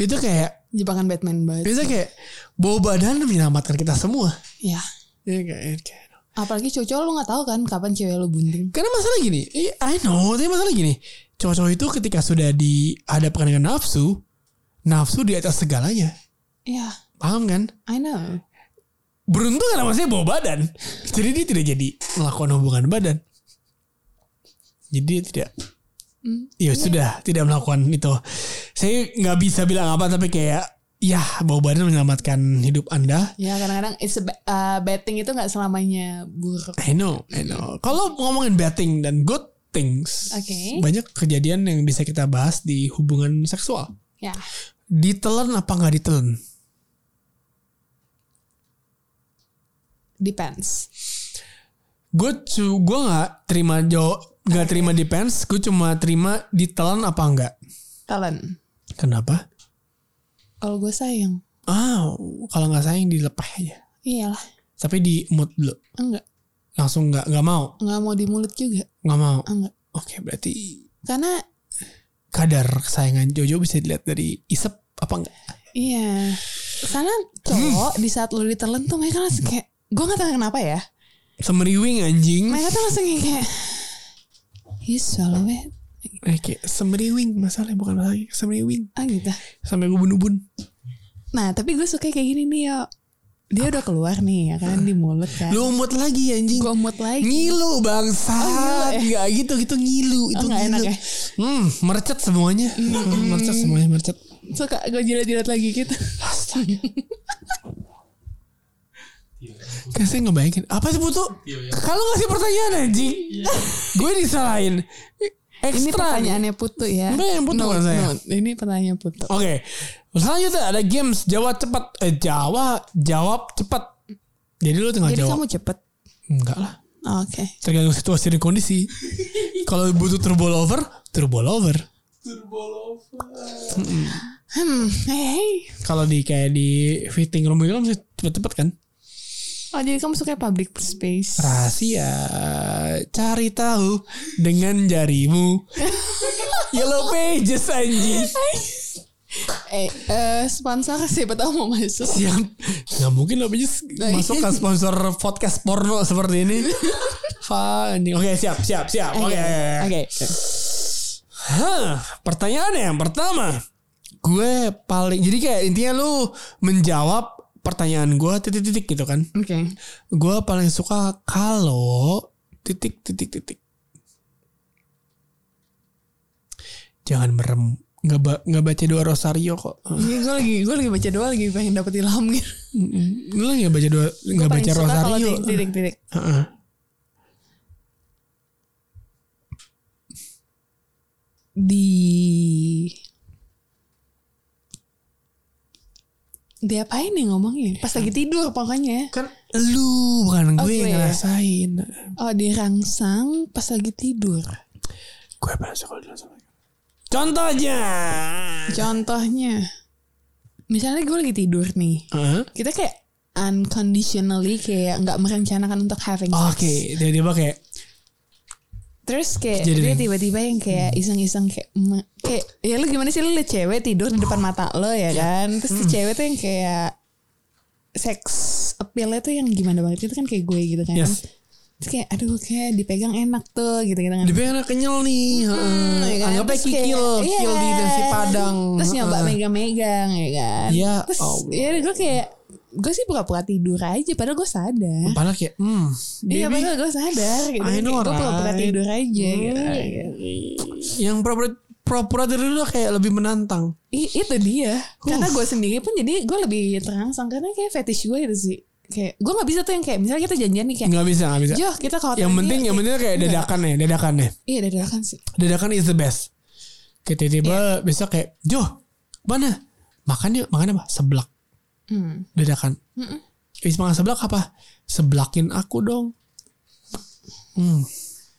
Speaker 2: itu kayak
Speaker 3: Jebakan Batman banget.
Speaker 2: itu kayak bau badan menyelamatkan kita semua
Speaker 3: Ya.
Speaker 2: Iya kayak- kayak-
Speaker 3: Apalagi cowok-cowok lu gak tahu kan kapan cewek lu bunting.
Speaker 2: karena masalah gini i- I know tapi masalah gini cowok-cowok itu ketika sudah dihadapkan dengan nafsu nafsu di atas segalanya
Speaker 3: Iya,
Speaker 2: paham kan
Speaker 3: I know.
Speaker 2: beruntung karena masih bau badan jadi dia tidak jadi melakukan hubungan badan jadi dia tidak
Speaker 3: Hmm.
Speaker 2: ya sudah tidak melakukan itu saya nggak bisa bilang apa tapi kayak ya bau badan menyelamatkan hidup anda
Speaker 3: Ya kadang-kadang it's a ba- uh, bad thing itu gak selamanya buruk.
Speaker 2: I know, I know. Kalau ngomongin betting dan good things,
Speaker 3: Oke.
Speaker 2: banyak kejadian yang bisa kita bahas di hubungan seksual.
Speaker 3: Ya.
Speaker 2: Ditelan apa nggak ditelan?
Speaker 3: Depends.
Speaker 2: Gue cu, gue nggak terima jawab, nggak terima depends. Gue cuma terima ditelan apa enggak.
Speaker 3: Talent.
Speaker 2: Kenapa?
Speaker 3: Kalau gue sayang.
Speaker 2: Ah, kalau nggak sayang dilepas aja.
Speaker 3: Iyalah.
Speaker 2: Tapi di mood dulu.
Speaker 3: Enggak.
Speaker 2: Langsung nggak nggak mau,
Speaker 3: nggak mau di mulut juga
Speaker 2: nggak mau.
Speaker 3: enggak
Speaker 2: Oke, berarti
Speaker 3: karena
Speaker 2: kadar kesayangan Jojo bisa dilihat dari isep apa enggak?
Speaker 3: iya karena cowok di saat lu ditelan tuh mereka langsung kayak gue gak tahu kenapa ya
Speaker 2: Semeriwing anjing.
Speaker 3: mereka tuh langsung yang kayak you swallow it
Speaker 2: Oke, semeriwing Eh, masalahnya bukan lagi semeriwing.
Speaker 3: ah gitu
Speaker 2: Sampai gue bun-bun.
Speaker 3: nah tapi gue suka kayak gini nih yo dia udah keluar nih ya kan di mulut kan
Speaker 2: Lu umut lagi anjing.
Speaker 3: gue mood lagi Oh, eh.
Speaker 2: Ngilu bangsa Enggak gitu Gitu ngilu Itu
Speaker 3: nggak enak
Speaker 2: ngilu.
Speaker 3: ya?
Speaker 2: Hmm Mercet semuanya Hmm, Mercet semuanya Mercet
Speaker 3: suka gue jilat-jilat lagi gitu
Speaker 2: Kan saya ngebayangin Apa sih Putu? Kalau ngasih pertanyaan anjing Gue disalahin
Speaker 3: ini
Speaker 2: Ekstra nih.
Speaker 3: pertanyaannya putu ya
Speaker 2: Enggak, yang putu kan saya.
Speaker 3: ini pertanyaan putu
Speaker 2: Oke Selanjutnya ada games Jawab cepat eh, Jawa Jawab cepat Jadi lu tinggal
Speaker 3: Oh, jadi
Speaker 2: jawab
Speaker 3: kamu cepet
Speaker 2: Enggak lah
Speaker 3: oke
Speaker 2: Tergantung situasi dan kondisi Kalau butuh turbo lover Turbo lover
Speaker 3: hmm hey
Speaker 2: Kalau di kayak di fitting room itu kan mesti cepet-cepet kan
Speaker 3: oh jadi kamu suka public space
Speaker 2: Rahasia Cari tahu Dengan jarimu Yellow pages anjing
Speaker 3: eh eh, sponsor siapa tahu mau masuk
Speaker 2: Yang Gak Ya, mungkin Yellow pages Masuk ke sponsor podcast porno Seperti ini Fa, anjing. Oke siap siap siap Oke
Speaker 3: oke
Speaker 2: Hah, Pertanyaannya yang pertama Gue paling Jadi kayak intinya lu Menjawab Pertanyaan gue Titik-titik gitu kan
Speaker 3: oke
Speaker 2: Gue paling suka kalau titik titik titik. Jangan merem. Nggak, ba- nggak baca doa Rosario kok.
Speaker 3: Ini gue lagi gue lagi baca doa lagi pengen dapet ilham gitu
Speaker 2: Mm-mm. Lu nggak baca doa
Speaker 3: Gue
Speaker 2: nggak
Speaker 3: paling
Speaker 2: baca
Speaker 3: suka kalau
Speaker 2: Rosario.
Speaker 3: titik- titik titik
Speaker 2: Heeh.
Speaker 3: di diapain nih ngomongnya pas lagi tidur pokoknya ya.
Speaker 2: Kan lu bukan
Speaker 3: Oh,
Speaker 2: gue
Speaker 3: gue
Speaker 2: yang
Speaker 3: ya.
Speaker 2: ngerasain.
Speaker 3: oh dirangsang pas lagi tidur
Speaker 2: Gue pernah suka doa Rosario. Contohnya.
Speaker 3: contohnya misalnya gue lagi tidur nih
Speaker 2: Heeh.
Speaker 3: kita kayak unconditionally kayak nggak merencanakan untuk having sex.
Speaker 2: Oke, dia tiba kayak
Speaker 3: Terus kayak
Speaker 2: Jadi
Speaker 3: dia
Speaker 2: deh. Hmm.
Speaker 3: tiba-tiba yang kayak iseng-iseng kayak "Ma- kayak ya lu gimana sih lu liat cewek tidur di depan mata lo ya kan. Terus
Speaker 2: Hmm.
Speaker 3: si cewek tuh yang kayak seks appeal-nya tuh yang gimana banget itu kan kayak gue gitu kan.
Speaker 2: Yes.
Speaker 3: Terus kayak aduh kayak dipegang enak tuh gitu-gitu kan.
Speaker 2: di pengen kenyal nih.
Speaker 3: Hmm,
Speaker 2: Heeh.
Speaker 3: ya kan?
Speaker 2: Anggapnya
Speaker 3: Terus kayak,
Speaker 2: kikil, kikil di
Speaker 3: iya.
Speaker 2: nasi padang.
Speaker 3: Terus nyoba
Speaker 2: Heeh.
Speaker 3: megang-megang ya kan.
Speaker 2: Ya
Speaker 3: Terus
Speaker 2: Allah.
Speaker 3: ya gue kayak gue sih pura-pura tidur aja padahal gue sadar.
Speaker 2: Padahal kayak, hmm,
Speaker 3: Iya
Speaker 2: baby,
Speaker 3: padahal gue sadar gitu.
Speaker 2: I know,
Speaker 3: gue pura-pura
Speaker 2: right? Hmm.
Speaker 3: tidur aja gitu.
Speaker 2: yang pura-pura pura-pura dari dulu kayak lebih menantang.
Speaker 3: I- itu dia karena gue sendiri pun jadi gue lebih terangsang karena kayak fetish gue itu sih kayak gue nggak bisa tuh yang kayak misalnya kita janjian nih kayak
Speaker 2: Nggak bisa, nggak bisa.
Speaker 3: Joh kita ke hotel
Speaker 2: yang
Speaker 3: ini
Speaker 2: penting,
Speaker 3: yuk."
Speaker 2: yang penting kayak dadakan ya, dadakan ya.
Speaker 3: iya dadakan sih
Speaker 2: Dadakan is the best. Kayak tiba-tiba
Speaker 3: Iya.
Speaker 2: besok kayak, Joh, mana? Makan yuk, makan apa? Seblak.
Speaker 3: hmm.
Speaker 2: Dadakan.
Speaker 3: Mm-mm.
Speaker 2: Is makan seblak apa? Seblakin aku dong. Hmm.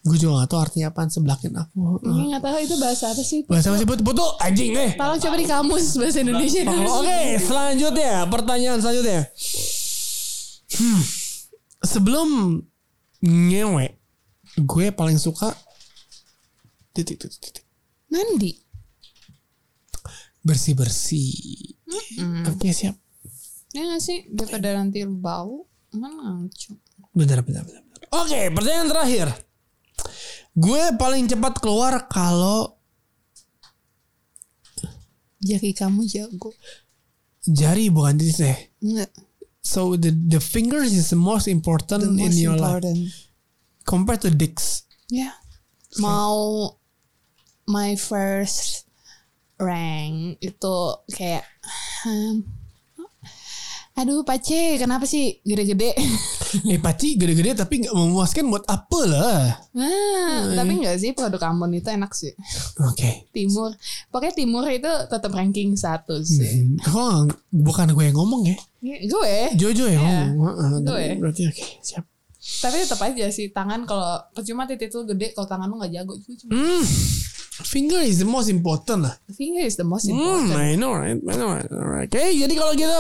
Speaker 2: Gue juga gak tau artinya apaan seblakin aku.
Speaker 3: Ini nggak tahu itu bahasa apa sih
Speaker 2: Bahasa masih butuh, butuh anjing eh.
Speaker 3: tolong coba di kamus bahasa Indonesia
Speaker 2: Oh, Oke, selanjutnya pertanyaan selanjutnya. Hmm, sebelum ngewe, gue paling suka titik titik titik
Speaker 3: mandi
Speaker 2: bersih bersih. Oke siap.
Speaker 3: ya nggak sih daripada nanti bau kan ngaco
Speaker 2: Bentar bentar bentar. bentar. Oke, pertanyaan terakhir. Gue paling cepat keluar kalau
Speaker 3: jari kamu jago
Speaker 2: jari bukan titik deh.
Speaker 3: nggak
Speaker 2: So the the fingers is the most important
Speaker 3: the most
Speaker 2: in your life
Speaker 3: important
Speaker 2: compared to dicks.
Speaker 3: ya mau my first rank itu kayak hmm, aduh pace kenapa sih gede-gede
Speaker 2: eh paci gede-gede tapi nggak memuaskan buat apa lah.
Speaker 3: Hmm, tapi enggak sih produk Ambon itu enak sih
Speaker 2: Oke.
Speaker 3: timur pokoknya timur itu tetap ranking satu sih
Speaker 2: Hmm. Oh, bukan gue yang ngomong ya.
Speaker 3: Ya, gue
Speaker 2: Jojo yang
Speaker 3: Iya,
Speaker 2: ngomong. Heeh,
Speaker 3: gue.
Speaker 2: Berarti oke, siap.
Speaker 3: tapi tetap aja sih tangan kalau percuma titik itu gede kalau tangan lu nggak jago itu cuma
Speaker 2: Hmm. Finger is the most important lah.
Speaker 3: finger is the most
Speaker 2: Hmm,
Speaker 3: important
Speaker 2: I know right, I know right. Alright. Oke, jadi kalau gitu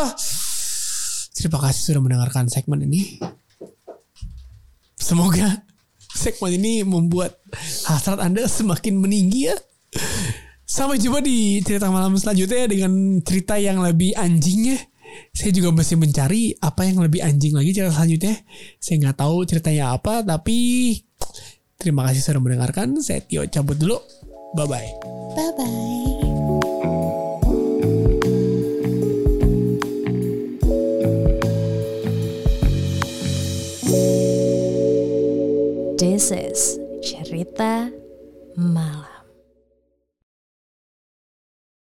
Speaker 2: Terima kasih sudah mendengarkan segmen ini. Semoga segmen ini membuat hasrat Anda semakin meninggi ya. Sampai jumpa di cerita malam selanjutnya dengan cerita yang lebih anjingnya. Saya juga masih mencari apa yang lebih anjing lagi cerita selanjutnya. Saya nggak tahu ceritanya apa, tapi terima kasih sudah mendengarkan. Saya Tio cabut dulu. Bye-bye.
Speaker 1: Bye-bye. This is Cerita Malam.